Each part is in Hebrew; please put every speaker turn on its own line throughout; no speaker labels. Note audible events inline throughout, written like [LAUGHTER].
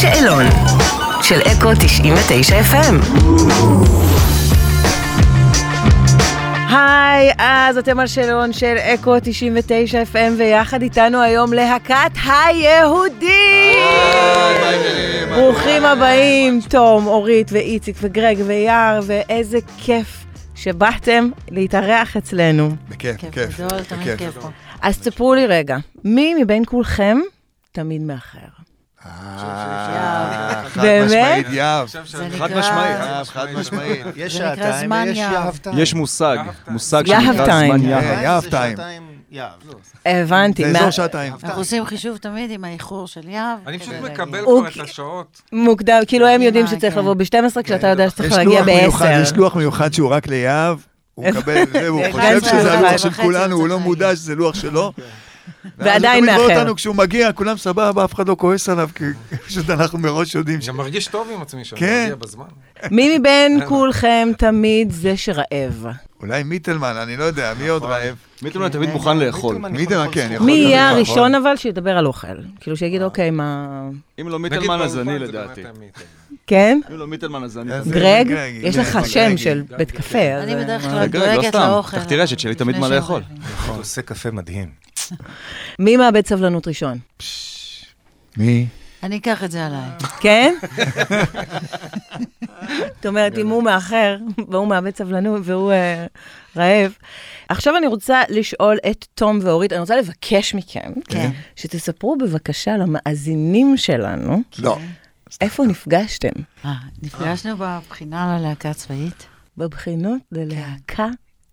שאלון של אקו 99 FM.
היי, אז אתם על שאלון של אקו 99 FM, ויחד איתנו היום להקת היהודים! ברוכים הבאים, תום, אורית ואיציק וגרג ויער, ואיזה כיף שבאתם להתארח אצלנו.
בכיף,
כיף
כיף.
גדול, תמיד
בכיף.
כן,
כיף פה.
אז תספרו לי רגע, מי מבין כולכם תמיד מאחר?
אה, חד
באמת?
משמעית יהב.
זה
חד
נקרא-
משמעית.
חד משמעית.
יש
זה נקרא
שעתיים
זמן
ויש
יעב.
יהב טיים.
יש מושג, מושג
יהב
שנקרא
טיים.
זמן
אה,
יהב.
יהב
זה
טיים.
שעתיים יהב, לא.
הבנתי,
זה
מה-
אזור שעתיים.
אנחנו עושים חישוב תמיד עם האיחור של יהב.
אני פשוט
כדי להגיע.
מקבל
הוא-
כבר את השעות.
מוקדם, כאילו הם יודעים
אה,
שצריך
כן.
לבוא ב-12, כשאתה יודע שצריך
יש
להגיע
לוח מיוחד, יש
ב-10.
לוח מיוחד שהוא רק ליהב. הוא מקבל את זה, והוא
זה
חושב שזה
11,
הלוח של
11,
כולנו, הוא לא
צריך
מודע שזה לוח
[LAUGHS]
שלו.
ועדיין
ואז הוא תמיד
מאחר.
רואה אותנו כשהוא מגיע, כולם סבבה, אף אחד לא כועס עליו, כי [LAUGHS] פשוט אנחנו מראש יודעים ש...
גם מרגיש טוב עם עצמי שאני
כן.
מגיע בזמן.
מי מבין
אה,
כולכם תמיד זה שרעב?
אולי מיטלמן, אני לא יודע, מי עוד רעב?
מיטלמן תמיד מוכן לאכול.
מיטלמן יכול
מיטלמן,
לאכול
כן,
סחורה.
יכול
מי
להיות,
יהיה
נכון. אה.
הראשון אבל שידבר על אוכל? כאילו שיגיד, אוקיי, מה...
אם לא
נגיד
מיטלמן אז
באולפן
אני
זה
לדעתי.
באמת מיטלמן.
כן?
אם לא מיטלמן אז אני...
אז- זה
גרג?
גרג,
יש
גרג,
לך
גרג.
שם של בית קפה. אז-
אני בדרך כלל
אבל גרג, לא
דואגת
סתם.
לאוכל.
תחתי רשת, שיהיה לי תמיד
לפני
מה לאכול.
שהם רבים.
אתה עושה קפה מדהים.
מי מאבד סבלנות ראשון?
מי?
אני אקח את זה עליי.
כן? זאת אומרת, אם הוא מאחר, והוא מאבד סבלנות, והוא אה, רעב. עכשיו אני רוצה לשאול את תום ואורית, אני רוצה לבקש מכם,
כן.
שתספרו בבקשה למאזינים שלנו,
לא.
איפה נפגשתם?
אה, נפגשנו בבחינה ללהקה הצבאית.
בבחינות ללהקה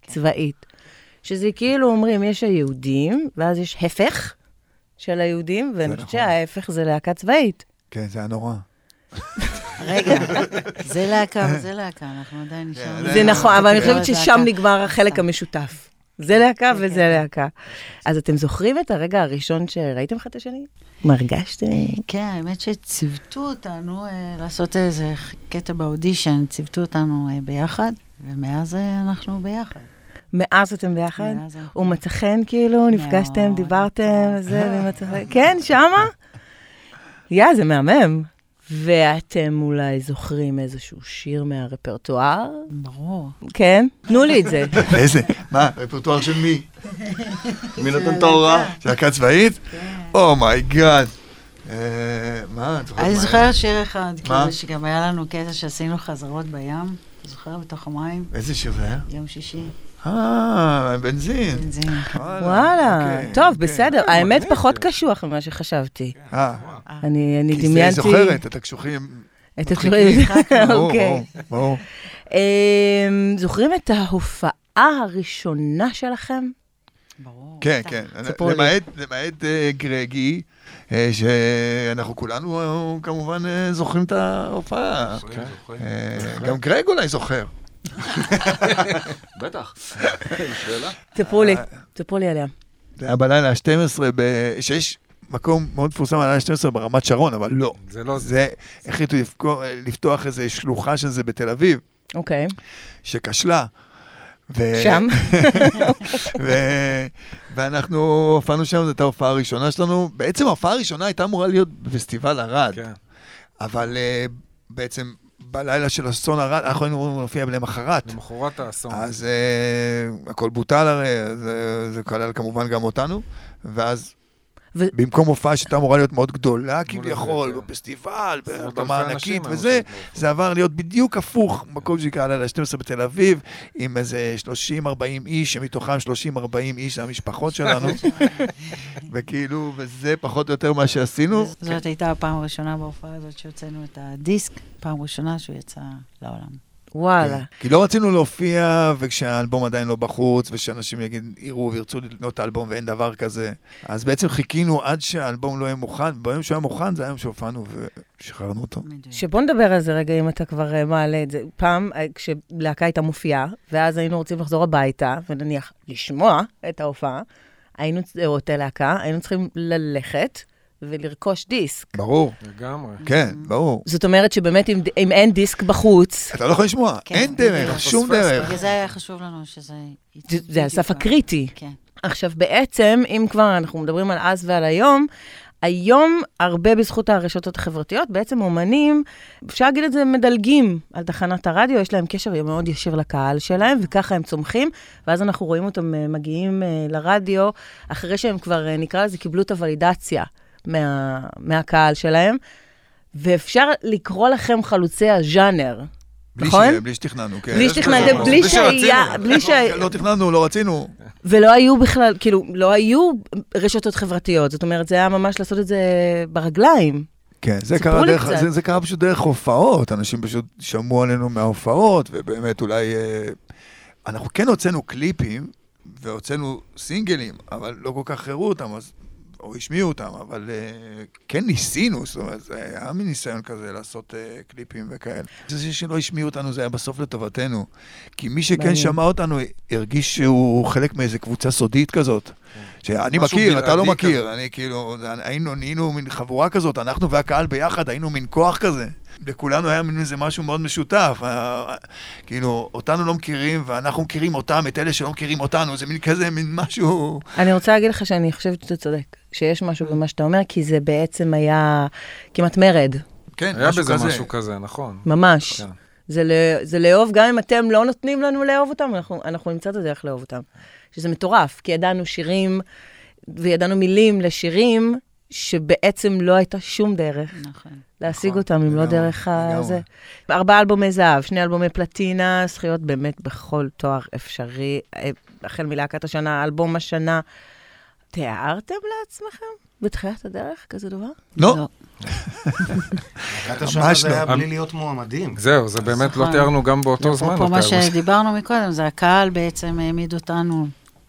צבאית. שזה כאילו אומרים, יש היהודים, ואז יש הפך של היהודים, ואני חושבת
נכון.
שההפך זה להקה צבאית.
כן, זה היה נורא.
רגע, זה להקה וזה להקה, אנחנו עדיין
כן,
נשארנו.
זה
לא.
לא,
נכון, אבל אני חושבת
זה
ששם
להקה.
נגמר החלק המשותף. זה להקה
אוקיי.
וזה להקה. אז אתם זוכרים את הרגע הראשון שראיתם אחד את השני? מרגשתם?
כן, האמת שציוותו אותנו אה, לעשות איזה קטע באודישן, ציוותו אותנו אה, ביחד, ומאז אה, אנחנו ביחד.
מאז אתם ביחד?
מאז
אוקיי.
אנחנו-
הוא מצא חן כאילו, נפגשתם,
מאוד.
[LAUGHS]
דיברתם, זה, ומצא חן. כן, שמה? יא, זה מהמם. ואתם אולי זוכרים איזשהו שיר מהרפרטואר?
ברור.
כן? תנו לי את
[LAUGHS]
זה. [LAUGHS]
איזה? מה, רפרטואר של מי?
מי נותן את ההוראה?
של להקה צבאית?
כן.
Oh אומייגאד. אה, מה, את זוכרת?
אני
מה
זוכרת שיר אחד,
מה?
כאילו שגם היה לנו קטע שעשינו חזרות בים, אתה זוכר? בתוך המים,
היה? איזה שיר זה היה?
יום שישי,
אה, בנזין.
בנזין.
וואלה.
אוקיי,
טוב,
אוקיי.
בסדר. האמת פחות קשוח ממה שחשבתי.
אה,
אני אני
כי זה
דמיינתי...
זוכרת,
[LAUGHS]
את הקשוחים.
את התשובה.
ברור,
אוקיי.
ברור, ברור.
אמ, זוכרים את ההופעה הראשונה שלכם?
ברור.
כן,
[LAUGHS]
כן.
ספרו לי.
למעט, למעט אה, גרגי, אה, שאנחנו כולנו אה, כמובן אה, זוכרים את ההופעה. אה, גם גרג אולי זוכר.
בטח. שאלה?
תספרו
אה,
לי, תספרו לי עליה.
זה היה בלילה ה-12, שיש מקום מאוד מפורסם בלילה ה-12 ברמת שרון, אבל לא.
זה לא זה.
זה, החליטו לפקו- לפתוח איזה שלוחה של זה בתל אביב,
אוקיי,
שכשלה. ו-
שם.
[LAUGHS] ו... ואנחנו הופענו שם, זו הייתה ההופעה הראשונה שלנו. בעצם ההופעה הראשונה הייתה אמורה להיות בפסטיבל ערד,
כן.
אבל uh, בעצם בלילה של אסון ערד, אנחנו היינו אמורים להופיע למחרת.
למחרת האסון.
אז uh, הכל בוטל הרי, זה, זה כלל כמובן גם אותנו, ואז...
ו-
ו... במקום הופעה שהייתה אמורה להיות מאוד גדולה כביכול,
זה, כן.
בפסטיבל,
עשרות
במה
אלפי אנשים
ענקית
היו
וזה,
שם בהופעה.
זה עבר להיות בדיוק הפוך, מקום שנקרא לילה 12 בתל אביב, עם איזה 30-40 איש, שמתוכם 30-40 איש זה המשפחות שלנו,
[LAUGHS]
וכאילו, וזה פחות או יותר מה שעשינו. כן.
זאת הייתה הפעם הראשונה בהופעה הזאת שהוצאנו את הדיסק, פעם ראשונה שהוא יצא לעולם.
וואלה.
כי לא רצינו להופיע, וכשהאלבום עדיין לא בחוץ, ושאנשים יגיד, יראו וירצו לקנות את האלבום, ואין דבר כזה. אז בעצם חיכינו עד שהאלבום לא יהיה מוכן, ביום שהוא היה מוכן, זה היום שהופענו ושחררנו אותו.
מדויק.
שבוא נדבר על זה רגע, אם אתה כבר אה, מעלה את זה. פעם, אה, כשלהקה הייתה מופיעה, ואז היינו רוצים לחזור הביתה, ונניח לשמוע את ההופעה, היינו, צ- או את הלהקה, היינו צריכים ללכת ולרכוש דיסק.
ברור.
לגמרי.
כן, ברור.
זאת אומרת שבאמת, אם, אם אין דיסק בחוץ,
אתה לא יכול לשמוע,
כן,
אין דרך,
בדיוק.
שום דרך.
בגלל זה היה חשוב לנו שזה... יצא
זה- זה
בדיוק
הסף
ב-
הקריטי.
כן.
עכשיו, בעצם, אם כבר אנחנו מדברים על אז ועל היום, היום, הרבה בזכות הרשתות החברתיות, בעצם אומנים, אפשר להגיד את זה, מדלגים על תחנת הרדיו, יש להם קשר מאוד ישיר לקהל שלהם, וככה הם צומחים, ואז אנחנו רואים אותם אה, מגיעים אה, לרדיו, אחרי שהם כבר, אה, נקרא לזה, קיבלו את הוולידציה מה, מהקהל שלהם, ואפשר לקרוא לכם חלוצי הז'אנר,
כן,
בלי
נכון?
ש- בלי שתכננו, כן.
בלי
יש
שתכננתם,
כזה
בלי
בלי שרצינו.
שהיה, בלי ש...
דבר. לא תכננו, לא רצינו.
ולא היו בכלל, כאילו, לא היו רשתות חברתיות. זאת אומרת, זה היה ממש לעשות את זה ברגליים.
כן, זה
סיפרו
קרה,
לי
דרך,
קצת.
זה, זה קרה פשוט דרך הופעות, אנשים פשוט שמעו עלינו מההופעות, ובאמת אולי... אה, אנחנו כן הוצאנו קליפים, והוצאנו סינגלים, אבל לא כל כך הראו אותם, אז, או השמיעו אותם, אבל אה, כן ניסינו, זאת אומרת, זה היה מין ניסיון כזה לעשות אה, קליפים וכאלה. זה שלא השמיעו אותנו, זה היה בסוף לטובתנו. כי מי שכן
מעניין.
שמע אותנו, הרגיש שהוא חלק מאיזה קבוצה סודית כזאת. שאני
משהו
מכיר, אתה לא
בלעדי
מכיר.
כזה.
אני כאילו, היינו, נהיינו מין חבורה כזאת, אנחנו והקהל ביחד היינו מין כוח כזה. לכולנו היה מין איזה משהו מאוד משותף. אה, כאילו, אותנו לא מכירים, ואנחנו מכירים אותם, את אלה שלא מכירים אותנו, זה מין כזה, מין משהו...
אני רוצה להגיד לך שאני חושבת שאתה צודק, שיש משהו במה שאתה אומר, כי זה בעצם היה כמעט מרד,
כן,
היה
משהו
בזה
כזה.
משהו כזה, נכון.
ממש.
כן.
זה, לא, זה לאהוב, גם אם אתם לא נותנים לנו לאהוב אותם, אנחנו, אנחנו נמצא את הדרך לאהוב אותם. שזה מטורף, כי ידענו שירים וידענו מילים לשירים, שבעצם לא הייתה שום דרך
נכון.
להשיג
נכון,
אותם, אם לא
לגמרי,
דרך ה-
לגמרי.
זה. ארבעה אלבומי זהב, שני אלבומי פלטינה, זכיות באמת בכל תואר אפשרי, אה, החל מלהקת השנה, אלבום השנה. תיארתם לעצמכם בתחילת הדרך כזה דבר?
לא,
להקת השנה זה היה
לא.
בלי להיות מועמדים.
זהו, זה באמת לא
נכון.
תיארנו גם באותו זמן.
אפרופו
לא
מה
תיארנו.
שדיברנו מקודם, זה הקהל בעצם העמיד אותנו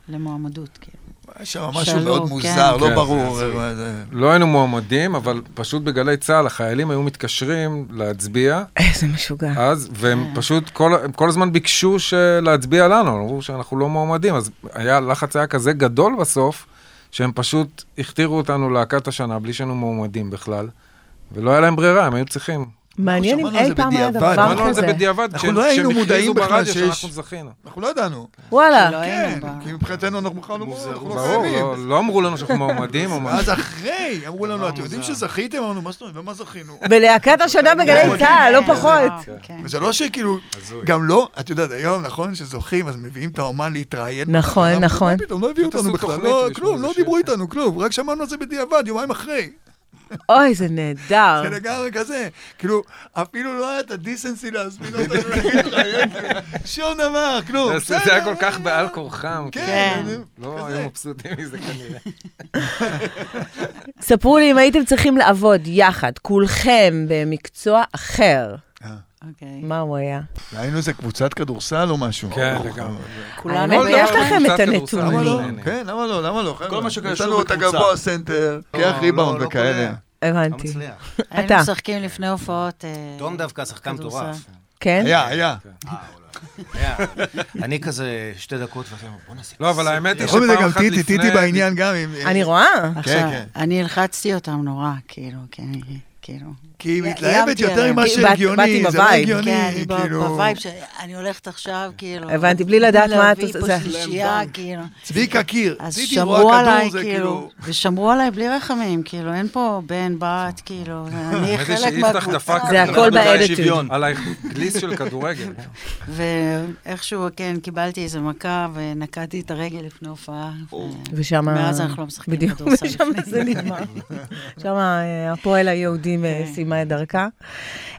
למועמדות, כאילו.
היה שם משהו
שלום,
מאוד
כן.
מוזר,
כן,
לא
זה
ברור. אה, זה-
לא היינו מועמדים, אבל פשוט בגלי צה"ל, החיילים היו מתקשרים להצביע
איזה משוגע.
אז,
אה.
והם פשוט כל, הם כל הזמן ביקשו ש- להצביע לנו, אמרו שאנחנו לא מועמדים, אז היה, הלחץ היה כזה גדול בסוף, שהם פשוט הכתירו אותנו להקת השנה בלי שהיינו מועמדים בכלל, ולא היה להם ברירה, הם היו צריכים.
מעניין אם
שמענו על
אי
זה
פעם היה
בדיעבד,
דבר
אמרנו את זה
כזה.
בדיעבד,
אנחנו
כשהם-
לא היינו
כשהם
מודעים
הכריזו
בכלל
ברדיו
שיש-
שאנחנו זכינו.
אנחנו לא ידענו.
וואלה.
שלא
כן,
היינו ב-
כי מבחינתנו אנחנו בכלל לא ברור, אנחנו לא
ברור,
קיימים.
לא, לא אמרו
[LAUGHS]
לנו שאנחנו מועמדים, או מה.
ואז אחרי, אמרו לנו, אתם יודעים שזכיתם? אמרנו, מה זאת אומרת, במה זכינו?
בלהקת השנה בגלי צהל, לא פחות.
וואו, כן.
וזה לא שכאילו, גם לא, את יודעת, היום, נכון, שזוכים, אז מביאים את האומן להתראיין.
נכון,
בתחנה,
נכון.
אבל פתאום לא הביאו
פשוט
אותנו
עשו
בכלל,
תוכנית
לא,
ויש
כלום,
מזה
לא
שיר.
דיברו איתנו, כלום, רק שמענו על זה בדיעבד, יומיים אחרי.
אוי, זה נהדר.
זה לגמרי כזה, כאילו, אפילו לא היה את הדיסנסי להזמין אותנו
[LAUGHS]
להתראיין, שום דבר, כלום.
זה זה היה כל כך בעל כורחם,
כן.
כאילו, לא היו מבסוטים מזה כנראה.
ספרו לי אם הייתם צריכים לעבוד יחד, כולכם, במקצוע אחר,
אוקיי.
מה הוא היה?
היינו איזה קבוצת כדורסל או משהו. אוקיי.
כן, לגמרי.
כולנו,
כל
יש
דבר
לכם את
קצת כדורסל.
הנתונים.
למה לא?
מעניין.
כן, למה לא? למה לא? חבר'ה?
מה שקשור
יש לנו את
בקבוצה.
הגבוה סנטר,
לא,
קח
לא,
ריבאונד
לא
וכאלה.
קולע. לא
הבנתי.
מצליח.
היינו
אתה.
משחקים לפני הופעות. אה,
דום דווקא שחקן
כדורסל.
מטורף.
כן?
היה, היה.
היה. אני כזה שתי דקות, ואתה אומר, בוא נעשה...
לא, אבל האמת היא
יכול
שפעם
להיות גם
אחת לפני...
טיטי, טיטי בעניין גם. עם-
אני רואה.
עכשיו,
כן.
אני הלחצתי אותם נורא, כאילו, כי אני, כאילו.
כי היא
י-
מתלהבת
איימתי
יותר
עליהם.
ממה
כי באת- באתי
שהגיוני, זה לא
בווייב,
כן,
הגיוני,
אני ב-
כאילו.
בווייב שאני הולכת עכשיו, כאילו.
הבנתי, בלי לדעת מה את
להביא פה
עושה.
שלישייה, כאילו.
צביקה קיר,
אז
ציטי
שמרו
רואה
עליי,
כדור, זה
כאילו,
כאילו...
ושמרו עליי בלי רחמים, כאילו, אין פה בן, בת,
[LAUGHS]
כאילו, אני
האמת היא
חלק
שיפתח
מהקבוצה.
דפק
זה הכל באדיטיוד.
שוויון.
על הגליס של כדורגל.
ואיכשהו, כן, קיבלתי איזה מכה ונקעתי את הרגל לפני הופעה. ו-
ושם...
מאז אנחנו לא משחקים
בדיוק,
כדורסל
[LAUGHS] ושם
לפני
זה
זה.
נגמר. שם אה, הפועל היהודים אה,
כן.
סיימה את דרכה.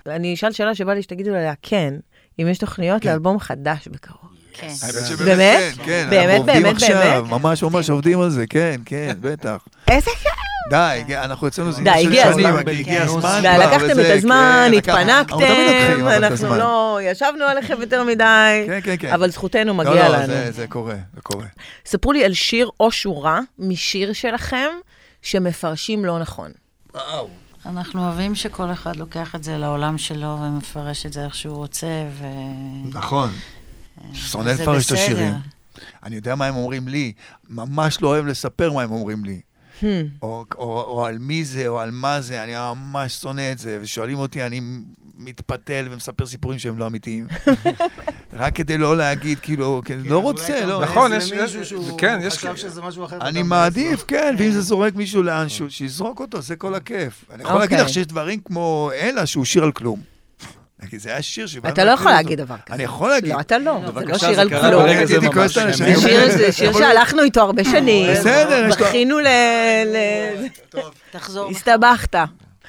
אני אשאל שאלה שבא לי שתגידו עליה כן, אם יש
כן.
תוכניות לאלבום חדש בקרוב.
כן.
האמת שבאמת
באמת?
כן, כן,
באמת,
אנחנו עובדים
באמת,
עכשיו,
באמת?
ממש ממש עובדים על זה, כן,
[LAUGHS]
כן, בטח.
איזה
די, הגיע- אנחנו אצלנו זה
די,
עניין של
הגיע
שנים,
הזמן. כן.
אבל הגיע הזמן
די,
כבר,
לקחתם
וזה,
את הזמן,
כן, לקחנו- אנחנו תמיד לוקחים,
התפנקתם,
אבל את
אנחנו
הזמן.
לא ישבנו עליכם יותר מדי,
כן, כן, כן.
אבל זכותנו
לא,
מגיע
לא,
לנו. אה,
זה- זה קורה, זה קורה.
ספרו לי על שיר או שורה משיר שלכם שמפרשים לא נכון.
אנחנו אוהבים שכל אחד לוקח את זה לעולם שלו ומפרש את זה איך שהוא רוצה, ו...
נכון. שונא
זה
לפרש את
בסדר.
השירים. אני יודע מה הם אומרים לי, ממש לא אוהב לספר מה הם אומרים לי. Hmm. או, או, או על מי זה, או על מה זה, אני ממש שונא את זה. ושואלים אותי, אני מתפתל ומספר סיפורים שהם
[LAUGHS]
לא אמיתיים. רק כדי לא להגיד, כאילו, כי אני לא רוצה, לא.
נכון,
איזה
יש-
מישהו
יש-
שהוא
כן, יש-
חשב שזה משהו אחר.
אני
ואתה
מעדיף, כן, נכון. ואם זה זורק מישהו לאנשהו, שיזרוק אותו, זה כל הכיף. אני יכול להגיד
אוקיי.
לך שיש דברים כמו אלה, שהוא שיר על כלום. כי זה היה שיר שבאנו
אתה לא יכול
להקליט
להגיד
אותו.
דבר כזה.
אני יכול להגיד.
לא, אתה לא, זה לא
בבקשה,
שיר
זה
על
קרה
כלום.
ברגע זה
הייתי
ממש.
כועס על השם.
זה שיר- זה שיר שהלכנו איתו הרבה שנים.
בסדר, יש לו-
בכינו ל... ל-
תחזור.
הסתבכת.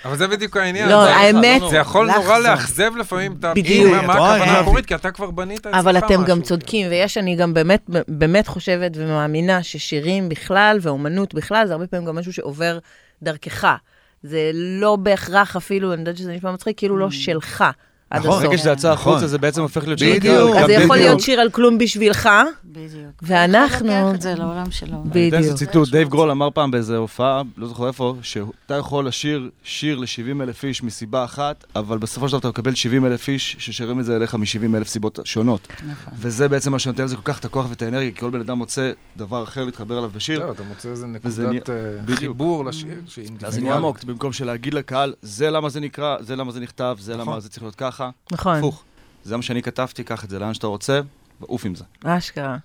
אבל זה בדיוק העניין.
לא,
זה-
האמת-
זה יכול נורא
לחזור.
לאכזב לפעמים את ה...
בדיוק.
מה- מה
וואי,
הכוונה
אהבתי.
המקורית, כי אתה כבר בנית אצלך משהו.
אבל אתם גם צודקים, ויש, אני גם באמת, באמת חושבת ומאמינה ששירים בכלל ואומנות בכלל, זה הרבה פעמים גם משהו שעובר דרכך. זה לא בהכרח אפילו, אני יודעת שזה נשמע מצחיק, כאילו לא שלך עד הסוף.
נכון,
ברגע שזה יצא
נכון.
החוצה, זה בעצם הופך להיות
בדיוק.
קהל.
אז
אז
גם
זה יכול
בדיוק.
להיות שיר על כלום בשבילך,
בדיוק.
ואנחנו-
הוא לוקח את זה לעולם שלו.
ב-
אני אתן
בדיוק.
איזה ציטוט, דייב גרול אמר פעם באיזה הופעה, לא זוכר איפה, שאתה יכול לשיר שיר ל-70 אלף איש מסיבה אחת, אבל בסופו של דבר אתה מקבל 70 אלף איש ששרים את זה אליך מ-70 אלף סיבות שונות.
נכון.
וזה בעצם מה שנותן לזה כל כך את הכוח ואת האנרגיה, כי כל בן אדם מוצא דבר אחר להתחבר אליו בשיר.
לא, אתה מוצא איזה
וזה
נקודת
נהיה-
אה,
בדיוק.
חיבור לשיר, שהיא
אז זה
אינדיבידואלית.
נהיה עמוק, במקום שלהגיד לקהל, זה למה זה נקרא, זה למה זה נכתב, זה למה זה צריך להיות ככה.
נכון,
הפוך, זה מה שאני כתבתי, קח את זה לאן שאתה רוצה, ועוף עם זה.
אשכרה.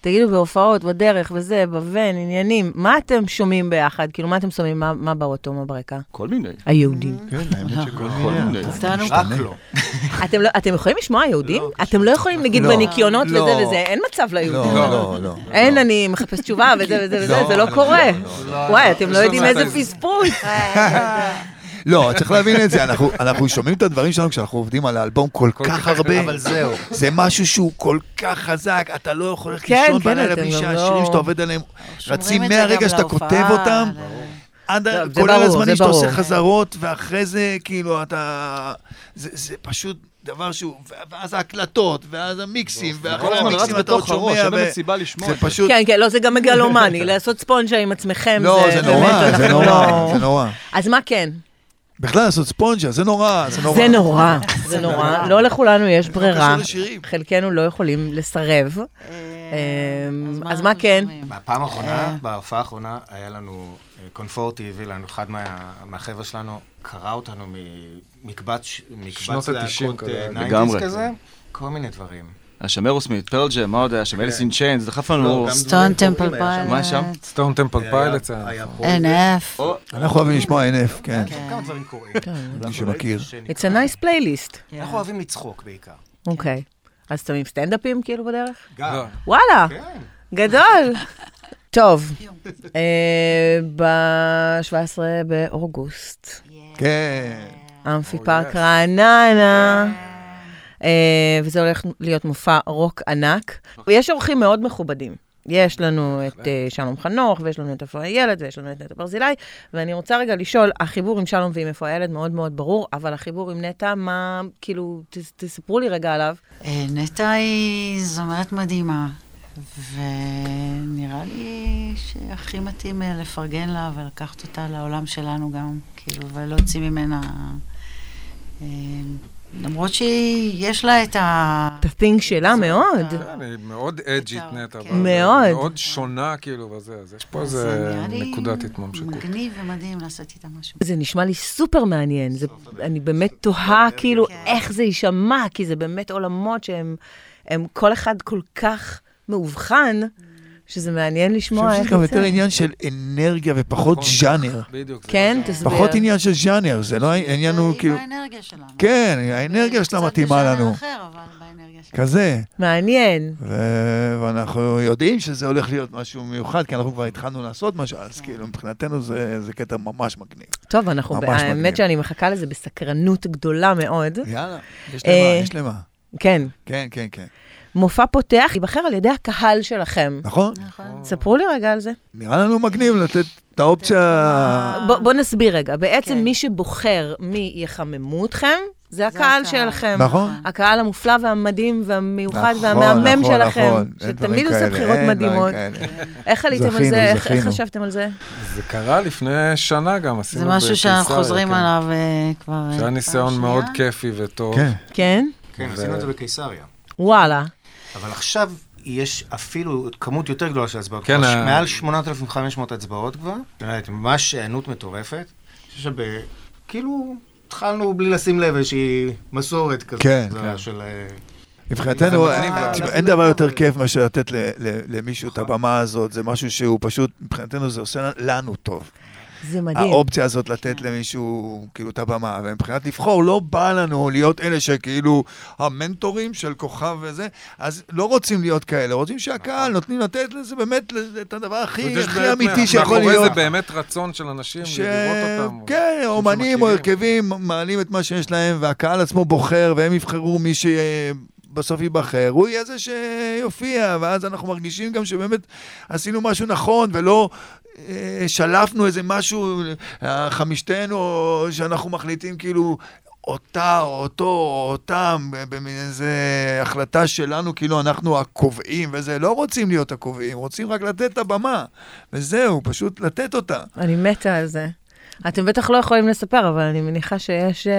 תגידו, בהופעות, בדרך, וזה, בבן, עניינים, מה אתם שומעים ביחד? כאילו, מה אתם שומעים? מה- מה באוטו, מה ברקע?
כל מיני.
היהודים.
כן, האמת שכל
כל
מיני.
מיני.
איתנו?
רק לא.
[LAUGHS] אתם לא- אתם יכולים לשמוע יהודים? אתם לא יכולים, נגיד, בניקיונות
לא.
וזה וזה, אין מצב ליהודים.
לא, לא.
אין, אני מחפש תשובה, וזה וזה וזה, זה לא קורה. וואי, אתם לא יודעים
לנו את
איזה
ה-
[LAUGHS]
פספוס.
לא, צריך להבין את זה, אנחנו- אנחנו שומעים את הדברים שלנו כשאנחנו עובדים על האלבום כל כך הרבה.
אבל זהו.
זה משהו שהוא כל כך חזק, אתה לא יכול ללכת
כן,
לישון
כן,
בלילה
אתם
בלי
גם
שהשירים
לא-
שאתה עובד עליהם רצים
שומרים את זה
מהרגע
גם
שאתה
להופעה,
כותב אותם,
ל- ל-
עד ה-
לא, זה
כולל
ברור,
הזמנים
זה
שאתה עושה
ברור.
חזרות, ואחרי זה, כאילו, אתה... זה זה פשוט דבר שהוא... ואז ההקלטות, ואז המיקסים,
כל
ואחרי
הזמן רץ
המיקסים אתה עוד
בתוך הראש,
שומע,
אין
ו-
באמת סיבה לשמוע
זה
את זה.
פשוט...
כן, כן, לא, זה גם מגלומני, לעשות ספונג'ה עם עצמכם, כן, זה...
לא, זה נורא,
באמת,
זה
אתם
נורא,
לא-
זה נורא.
אז מה כן?
בכלל לעשות ספונג'ה, זה נורא, זה נורא.
זה נורא, זה נורא. לא לכולנו יש ברירה.
קשור לשירים.
חלקנו לא יכולים לסרב.
אה,
אמ, אז מה כן?
שומעים?
בפעם
אה.
האחרונה, בהופעה האחרונה, היה לנו, אה, קונפורטי הביא לנו, אחד מה- מהחבר'ה שלנו קרא אותנו ממקבץ ש-
שנות
מקבץ
ה-תשעים
להקות
כזה.
אה, 90s
לגמרי.
כזה, כל מיני דברים.
השמרו סמית, פרל ג'ם, מה עוד היה שם? אליסין צ'יינס, דחף לנו...
סטון טמפל פיילט.
מה שם?
סטון טמפל אה, פיילט זה היה.
היה פה
NF.
או,
אנחנו אוהבים לשמוע NF, כן,
כמה דברים קורים. לא
מי שמכיר.
It's a nice playlist.
אנחנו אוהבים לצחוק בעיקר.
אוקיי. אז שמים סטנדאפים כאילו בדרך?
גם.
וואלה,
כן.
גדול. טוב, אה, ב-17 באוגוסט,
כן.
אמפי פארק רעננה, אה, וזה הולך להיות מופע רוק ענק. ויש אורחים מאוד מכובדים. יש לנו את אה, שלום חנוך, ויש לנו את אפרים ילד, ויש לנו את נטע ברזילי, ואני רוצה רגע לשאול, החיבור עם שלום ועם איפה הילד מאוד מאוד ברור, אבל החיבור עם נטע, מה, כאילו, ת- תספרו לי רגע עליו.
אה, נטע היא זמרת מדהימה, ונראה לי שהכי מתאים אה, לפרגן לה ולקחת אותה לעולם שלנו גם, כאילו, ולהוציא ממנה... אה, למרות שיש לה את ה...
את ה-thing שלה מאוד.
כן, היא מאוד אג'ית נטע.
כן.
אבל
מאוד.
מאוד שונה כאילו בזה, אז יש פה איזה
נראה לי
נקודת התממשקות.
מגניב ומדהים לעשות איתה משהו.
זה נשמע לי סופר מעניין, זה, אני באמת תוהה כאילו
כן.
איך זה יישמע, כי זה באמת עולמות שהם, הם כל אחד כל כך מאובחן, שזה מעניין
אני
לשמוע
חושב שזה
איך
גם
יוצא.
יותר עניין של אנרגיה ופחות ז'אנר.
נכון. בדיוק. זה
כן,
מה ש-
תסביר.
פחות עניין של ז'אנר, זה לא העניין הוא כאילו...
עם האנרגיה שלנו.
כן, האנרגיה שלה מתאימה לנו.
קצת בשלב אחר, אבל באנרגיה שלנו.
כזה.
מעניין.
ו- ואנחנו יודעים שזה הולך להיות משהו מיוחד, כי אנחנו כבר התחלנו לעשות משהו, אז כאילו מבחינתנו זה זה קטע ממש מגניב.
טוב, אנחנו,
ממש מגניב.
האמת שאני מחכה לזה בסקרנות גדולה מאוד.
יאללה, יש
אה,
למה, יש למה.
כן,
כן, כן, כן.
מופע פותח ייבחר על ידי הקהל שלכם.
נכון?
נכון.
ספרו לי רגע על זה.
נראה לנו מגניב לתת את האופציה...
בוא, בוא נסביר רגע. בעצם
כן.
מי שבוחר מי יחממו אתכם, זה הקהל
הקהל.
שלכם.
נכון?
אה. הקהל המופלא והמדהים והמיוחד
נכון,
והמהמם
נכון,
שלכם,
נכון. אין דברים
שתמיד עושה
כאלה,
בחירות
אין דברים
מדהימות.
כאלה.
איך עליתם על
זכינו,
זה? איך- איך
זכינו.
חשבתם על זה?
זה קרה לפני שנה גם, עשינו
זה משהו שאנחנו
בקיסריה,
חוזרים
כן.
עליו אה, כבר... אה,
שהיה
פעם
ניסיון
שנייה.
מאוד כיפי וטוב.
כן.
כן?
כן, עשינו את זה בקיסריה.
וואלה.
אבל עכשיו יש אפילו כמות יותר גדולה של הצבעות.
כן,
כן.
ה-
מעל לא 8,500 הצבעות כבר. זאת אומרת, ממש היענות מטורפת. אני חושב שב... כאילו, התחלנו בלי לשים לב איזושהי מסורת כזאת.
כן,
זה
כן.
היה של... אה,
מבחינתנו,
זה מגניב
אה,
גם.
תשמע, אין דבר יותר כיף מאשר לתת ל- ל- למישהו את הבמה הזאת, זה משהו שהוא פשוט, מבחינתנו זה עושה לנו טוב.
זה מדהים.
האופציה הזאת לתת למישהו, כאילו, את הבמה, ומבחינת לבחור, לא בא לנו להיות אלה שכאילו המנטורים של כוכב וזה, אז לא רוצים להיות כאלה, רוצים שהקהל נותנים לתת לזה באמת לזה את הדבר הכי
נכון. יש
הכי
באמת-
אמיתי שיכול
מאחורי
להיות.
זה באמת רצון של אנשים
ש-
לראות אותם.
כן,
או-
אומנים או
שמכירים.
הרכבים מעלים את מה שיש להם, והקהל עצמו בוחר, והם יבחרו מי שבסוף ייבחר, הוא יהיה זה שיופיע, ואז אנחנו מרגישים גם שבאמת עשינו משהו נכון, ולא אה, שלפנו איזה משהו, אה, חמישתנו, או שאנחנו מחליטים כאילו... אותה, או אותו, או אותם, במין איזה החלטה שלנו, כאילו אנחנו הקובעים וזה, לא רוצים להיות הקובעים, רוצים רק לתת את הבמה, וזהו, פשוט לתת אותה.
אני מתה על זה. אתם בטח לא יכולים לספר, אבל אני מניחה שיש... אה,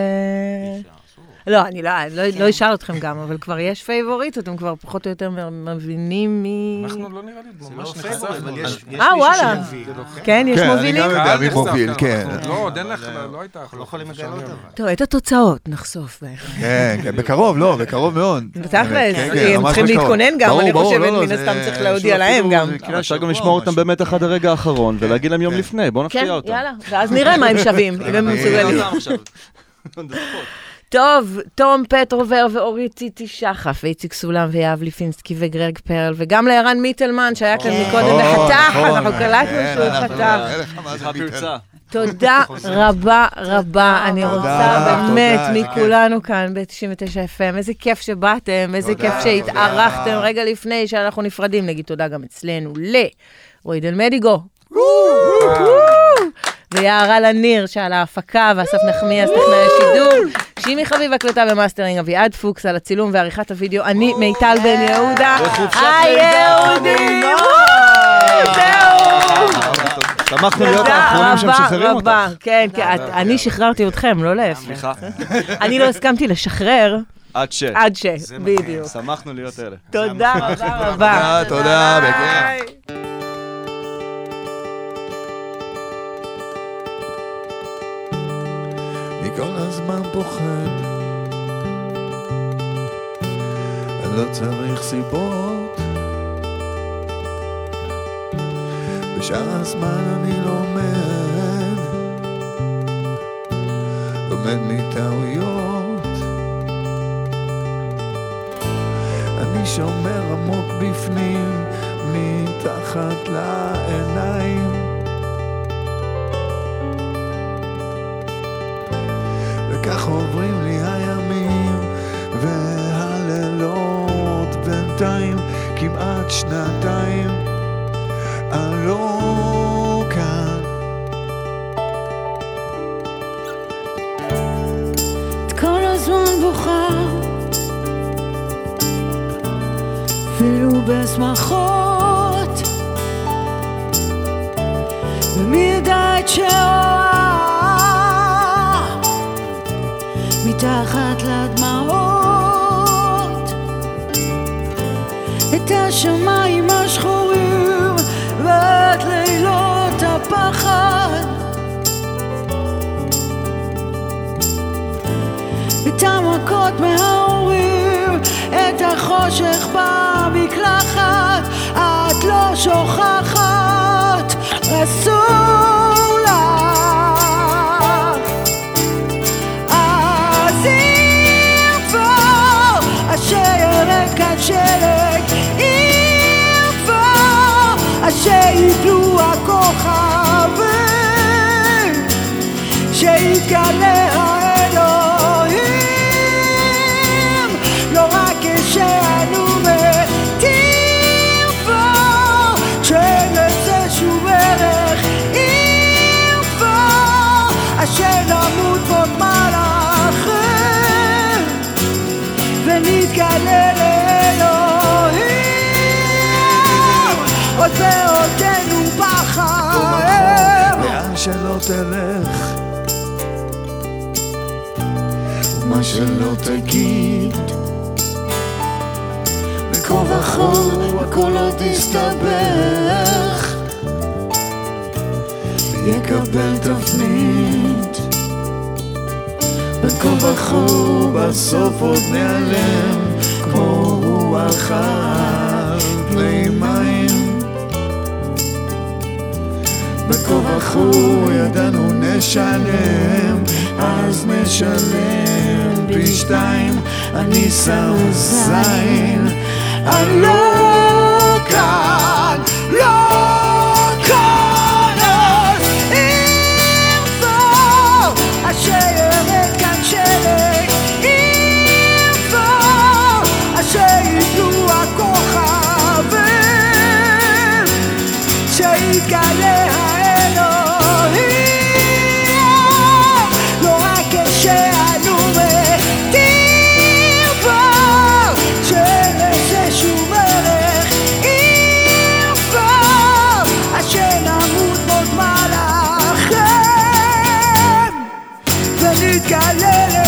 לא, אני לא, אני לא-
כן.
לא אשאל אתכם גם, אבל כבר יש פייבוריט, אתם כבר פחות או יותר מבינים מי...
אנחנו לא נראה לי ממש
זה לא פייבוריט, אבל
נחשפנו.
יש- יש
אה,
מישהו
וואלה.
שמביא.
כן, יש
כן, אני
מובילים?
גם יודע.
קהל
מי
נחשף,
מוביל, כן.
אנחנו- לא, עוד אין לך, לא הייתה
אנחנו
החלטה.
לא יכולים לגלות אבל.
טוב, את התוצאות נחשוף.
כן, כן, בקרוב, לא, בקרוב מאוד.
תכלס,
כן, כן,
כי הם
ממש
צריכים
בקרוב.
להתכונן גם,
ברור,
אני
ברור,
חושבת,
לא, לא,
מן
זה-
הסתם צריך
אפילו-
להודיע להם
אפילו
גם.
זה קריאה
אפשר גם
שבוע
לשמור
או
אותם
משהו.
באמת עד הרגע האחרון, ולהגיד להם יום
כן.
לפני, בואו
כן,
נפתיע אותם.
יאללה, ואז נראה מה הם
[LAUGHS]
שווים, אם הם
אני-
מסוגלים.
[LAUGHS]
טוב, תום פטרובר ואורית ציצי שחף, ואיציק סולם ויהב ליפינסקי וגרג פרל, וגם לערן מיטלמן שהיה כאן מקודם וחתך,
נכון,
אנחנו קלטנו
כן,
שהוא
אנחנו-
חתך.
אין לך מה זה
סליחה,
ביטל.
פרצה.
תודה רבה רבה, אני
תודה,
רוצה
תודה,
באמת
זה כיף.
מכולנו כאן ב-99 FM, איזה כיף שבאתם, איזה
תודה,
כיף שהתארחתם
תודה.
רגע לפני שאנחנו נפרדים, נגיד תודה גם אצלנו לרועי דל מדיגו. ויערה לניר שעל ההפקה, ואסף נחמיאס טכנאי השידור, שימי חביב הקלטה במאסטרינג, אביעד פוקס על הצילום ועריכת הוידאו, אני מיטל בן יהודה, היהודים! וואו,
אה.
זהו!
שמחנו להיות האחרונים שמשחררים אותך.
כן, כי את- אני שחררתי אתכם, לא להפך.
סליחה.
[LAUGHS] אני לא הסכמתי לשחרר
עד ש...
עד ש... בדיוק.
שמחנו להיות אלה.
תודה רבה רבה.
תודה, תודה, בכיף.
ביי.
אני כל הזמן פוחד. אני לא צריך סיבות. בשאר הזמן אני לומד. לומד מטעויות. אני שומר עמוק בפנים, מתחת לעיניים. וכך עוברים לי הימים והלילות בינתיים כמעט שנתיים אני לא כאן
את כל הזמן בוכה אפילו בשמחות ומי ידע את שאוהב מתחת לדמעות את השמיים השחורים ואת לילות הפחד את המכות מההורים, את החושך במקלחת, את לא שוכחת, אסור לך. אז אם כבר, אשר ירד כאן שלג, אם כבר, אשר יפלו הכוכבים. שיתגלה האלוהים לא רק כשאנו מתים פה כשאין לזה שום ערך אם פה אשר נמות פה מלאכים ונתגלה לאלוהים עוד בעודנו בחיים
לאן שלא תלך מה שלא תגיד
כה וחום, הכל עוד יסתבך. יקבל תפנית, וכה וכה בסוף עוד נעלם כמו רוח על פני מים וכה וכה ידענו נשלם אז נשלם פי שתיים אני שם זין אני לא כאן לא כאן אז אם זו השיירת כאן שלג אם זו אשר ידעו הכוכבים שיתגלה האלוהים לא רק כשאנו מתים בו שאין לזה שום ערך אם בו אשר נמות עוד מלאכים ונתגלה